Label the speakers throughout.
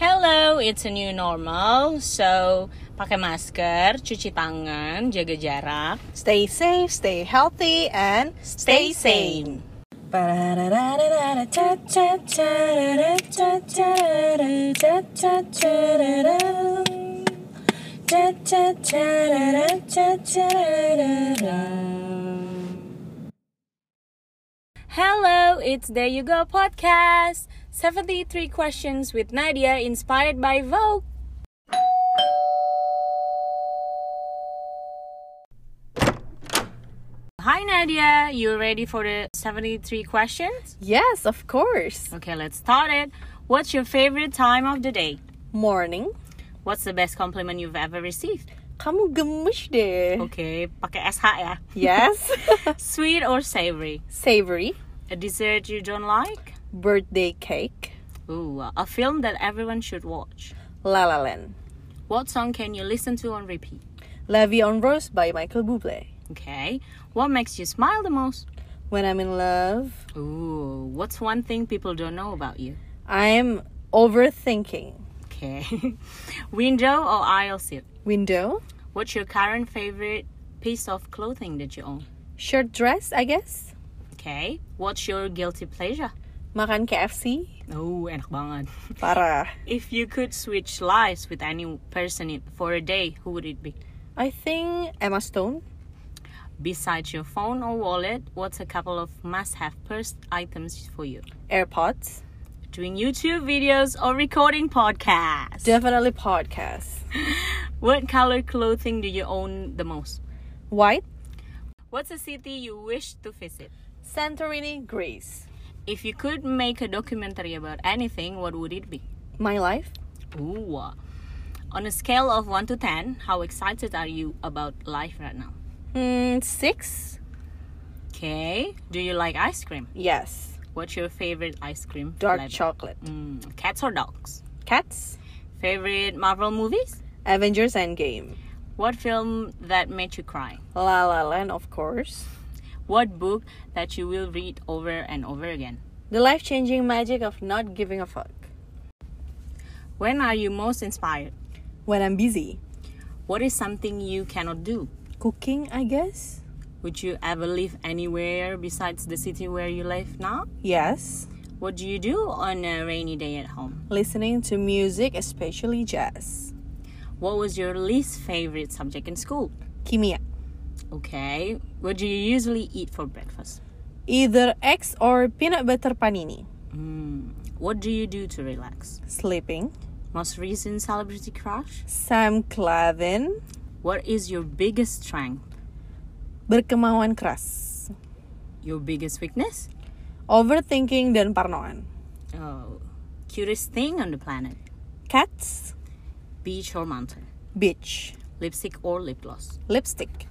Speaker 1: Hello, it's a new normal. So, pakai masker, cuci tangan, jaga jarak,
Speaker 2: Stay safe, stay healthy, and
Speaker 1: stay sane. Hello, it's There You Go Podcast. 73 questions with Nadia inspired by Vogue. Hi Nadia, you ready for the 73 questions?
Speaker 2: Yes, of course.
Speaker 1: Okay, let's start it. What's your favorite time of the day?
Speaker 2: Morning.
Speaker 1: What's the best compliment you've ever received?
Speaker 2: Kamu gemes deh.
Speaker 1: Okay, pakai SH ya.
Speaker 2: Yes.
Speaker 1: Sweet or savory?
Speaker 2: Savory.
Speaker 1: A dessert you don't like?
Speaker 2: Birthday cake.
Speaker 1: Ooh, a film that everyone should watch.
Speaker 2: La La Land.
Speaker 1: What song can you listen to on repeat?
Speaker 2: La Vie en Rose by Michael Bublé.
Speaker 1: Okay. What makes you smile the most?
Speaker 2: When I'm in love,
Speaker 1: Ooh, what's one thing people don't know about you?
Speaker 2: I'm overthinking.
Speaker 1: Okay. Window or aisle seat?
Speaker 2: Window.
Speaker 1: What's your current favorite piece of clothing that you own?
Speaker 2: Shirt dress, I guess.
Speaker 1: Okay. What's your guilty pleasure?
Speaker 2: Makan KFC.
Speaker 1: Oh, enak banget.
Speaker 2: Parah.
Speaker 1: If you could switch lives with any person in- for a day, who would it be?
Speaker 2: I think Emma Stone.
Speaker 1: Besides your phone or wallet, what's a couple of must-have purse items for you?
Speaker 2: AirPods.
Speaker 1: Doing YouTube videos or recording podcasts?
Speaker 2: Definitely podcast.
Speaker 1: What color clothing do you own the most?
Speaker 2: White.
Speaker 1: What's a city you wish to visit?
Speaker 2: Santorini, Greece.
Speaker 1: If you could make a documentary about anything, what would it be?
Speaker 2: My life.
Speaker 1: Ooh. uh, On a scale of 1 to 10, how excited are you about life right now?
Speaker 2: Hmm, six.
Speaker 1: Okay. Do you like ice cream?
Speaker 2: Yes.
Speaker 1: What's your favorite ice cream?
Speaker 2: Dark
Speaker 1: flavor?
Speaker 2: chocolate.
Speaker 1: Mm, cats or dogs?
Speaker 2: Cats.
Speaker 1: Favorite Marvel movies?
Speaker 2: Avengers Endgame.
Speaker 1: What film that made you cry?
Speaker 2: La La Land, of course.
Speaker 1: What book that you will read over and over again?
Speaker 2: The life changing magic of not giving a fuck.
Speaker 1: When are you most inspired?
Speaker 2: When I'm busy.
Speaker 1: What is something you cannot do?
Speaker 2: Cooking, I guess.
Speaker 1: Would you ever live anywhere besides the city where you live now?
Speaker 2: Yes.
Speaker 1: What do you do on a rainy day at home?
Speaker 2: Listening to music, especially jazz.
Speaker 1: What was your least favorite subject in school?
Speaker 2: Kimia.
Speaker 1: Okay. What do you usually eat for breakfast?
Speaker 2: Either eggs or peanut butter panini.
Speaker 1: Mm. What do you do to relax?
Speaker 2: Sleeping.
Speaker 1: Most recent celebrity crush?
Speaker 2: Sam Clavin.
Speaker 1: What is your biggest strength?
Speaker 2: Berkemauan keras.
Speaker 1: Your biggest weakness?
Speaker 2: Overthinking dan parnoan.
Speaker 1: Oh. Cutest thing on the planet?
Speaker 2: Cats.
Speaker 1: Beach or mountain?
Speaker 2: Bitch.
Speaker 1: Lipstick or lip gloss?
Speaker 2: Lipstick.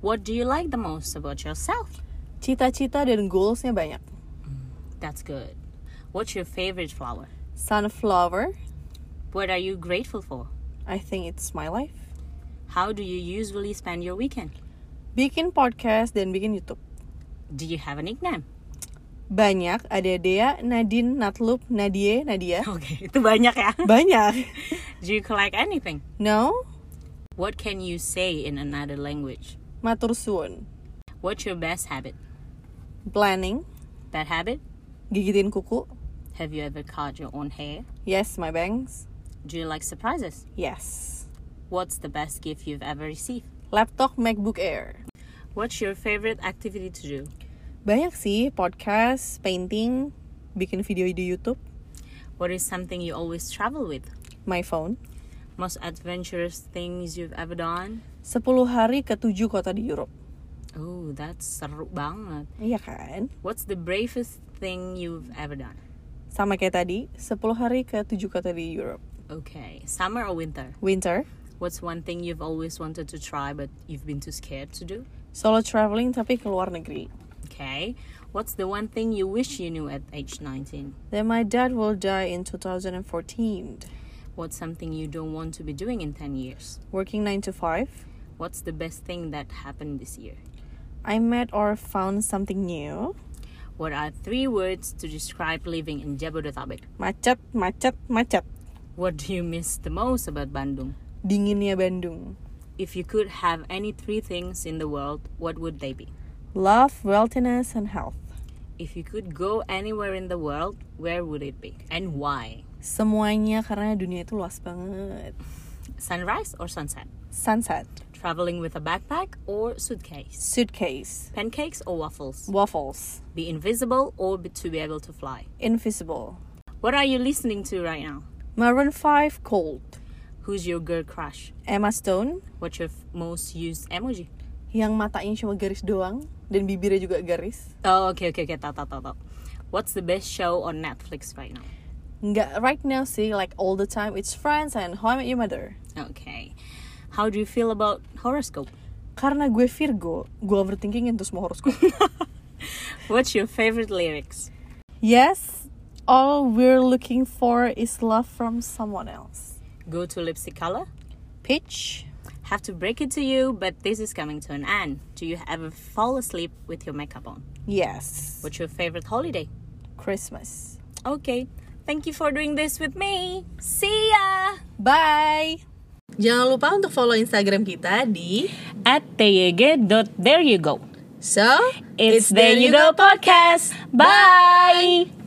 Speaker 1: What do you like the most about yourself?
Speaker 2: Cita-cita dan goalsnya banyak.
Speaker 1: That's good. What's your favorite flower?
Speaker 2: Sunflower.
Speaker 1: What are you grateful for?
Speaker 2: I think it's my life.
Speaker 1: How do you usually spend your weekend?
Speaker 2: Bikin podcast dan bikin YouTube.
Speaker 1: Do you have a nickname?
Speaker 2: Banyak. Ada Dea, Nadine, Natlup, Nadie, Nadia.
Speaker 1: Okay, itu banyak ya.
Speaker 2: Banyak.
Speaker 1: Do you collect anything?
Speaker 2: No.
Speaker 1: What can you say in another language?
Speaker 2: Matur suwun.
Speaker 1: What's your best habit?
Speaker 2: Planning.
Speaker 1: Bad habit?
Speaker 2: Gigitin kuku.
Speaker 1: Have you ever cut your own hair?
Speaker 2: Yes, my bangs.
Speaker 1: Do you like surprises?
Speaker 2: Yes.
Speaker 1: What's the best gift you've ever received?
Speaker 2: Laptop MacBook Air.
Speaker 1: What's your favorite activity to do?
Speaker 2: Banyak sih podcast, painting, bikin video di YouTube,
Speaker 1: What is something you always travel with?
Speaker 2: my phone.
Speaker 1: Most adventurous things you've ever done?
Speaker 2: 10 hari ke 7 kota di Europe.
Speaker 1: Oh, that's seru banget.
Speaker 2: Iya kan?
Speaker 1: What's the bravest thing you've ever done?
Speaker 2: Sama kayak tadi, 10 hari ke 7 kota di Europe.
Speaker 1: Okay, summer or winter?
Speaker 2: Winter,
Speaker 1: What's one thing you've always wanted to try but you've been too scared to do?
Speaker 2: solo traveling tapi ke luar negeri.
Speaker 1: Okay. What's the one thing you wish you knew at age 19?
Speaker 2: Then my dad will die in 2014.
Speaker 1: What's something you don't want to be doing in 10 years?
Speaker 2: Working 9 to 5.
Speaker 1: What's the best thing that happened this year?
Speaker 2: I met or found something new.
Speaker 1: What are three words to describe living in Jabodetabek?
Speaker 2: Macet, macet, macet.
Speaker 1: What do you miss the most about Bandung?
Speaker 2: Dinginnya Bandung.
Speaker 1: If you could have any three things in the world, what would they be?
Speaker 2: Love, wellness, and health.
Speaker 1: If you could go anywhere in the world, where would it be and why?
Speaker 2: Semuanya karena dunia itu luas banget.
Speaker 1: Sunrise or sunset?
Speaker 2: Sunset,
Speaker 1: Traveling with a backpack or suitcase?
Speaker 2: suitcase,
Speaker 1: Pancakes or waffles?
Speaker 2: waffles,
Speaker 1: Be invisible or be to be able to fly?
Speaker 2: invisible.
Speaker 1: What are you listening to right now?
Speaker 2: Maroon 5 Cold.
Speaker 1: Who's your girl crush?
Speaker 2: Emma Stone
Speaker 1: What's your f- most used emoji?
Speaker 2: yang matanya cuma garis doang dan bibirnya juga garis.
Speaker 1: Oh, okay, okay, okay. Tau, tau, tau, tau. What's the best show on Netflix right now?
Speaker 2: Nggak right now sih, like all the time it's Friends and How I Met Your Mother.
Speaker 1: Okay. How do you feel about horoscope?
Speaker 2: Karena gue Virgo, gue overthinking itu semua horoskop.
Speaker 1: What's your favorite lyrics?
Speaker 2: yes, all we're looking for is love from someone else.
Speaker 1: Go to lipstick color?
Speaker 2: Pitch.
Speaker 1: Have to break it to you, but this is coming to an end. Do you ever fall asleep with your makeup on?
Speaker 2: Yes.
Speaker 1: What's your favorite holiday?
Speaker 2: Christmas.
Speaker 1: Okay. Thank you for doing this with me. See ya!
Speaker 2: Bye. Jangan lupa untuk follow Instagram kita di
Speaker 1: At There you go.
Speaker 2: So
Speaker 1: It's There You Go podcast. Bye.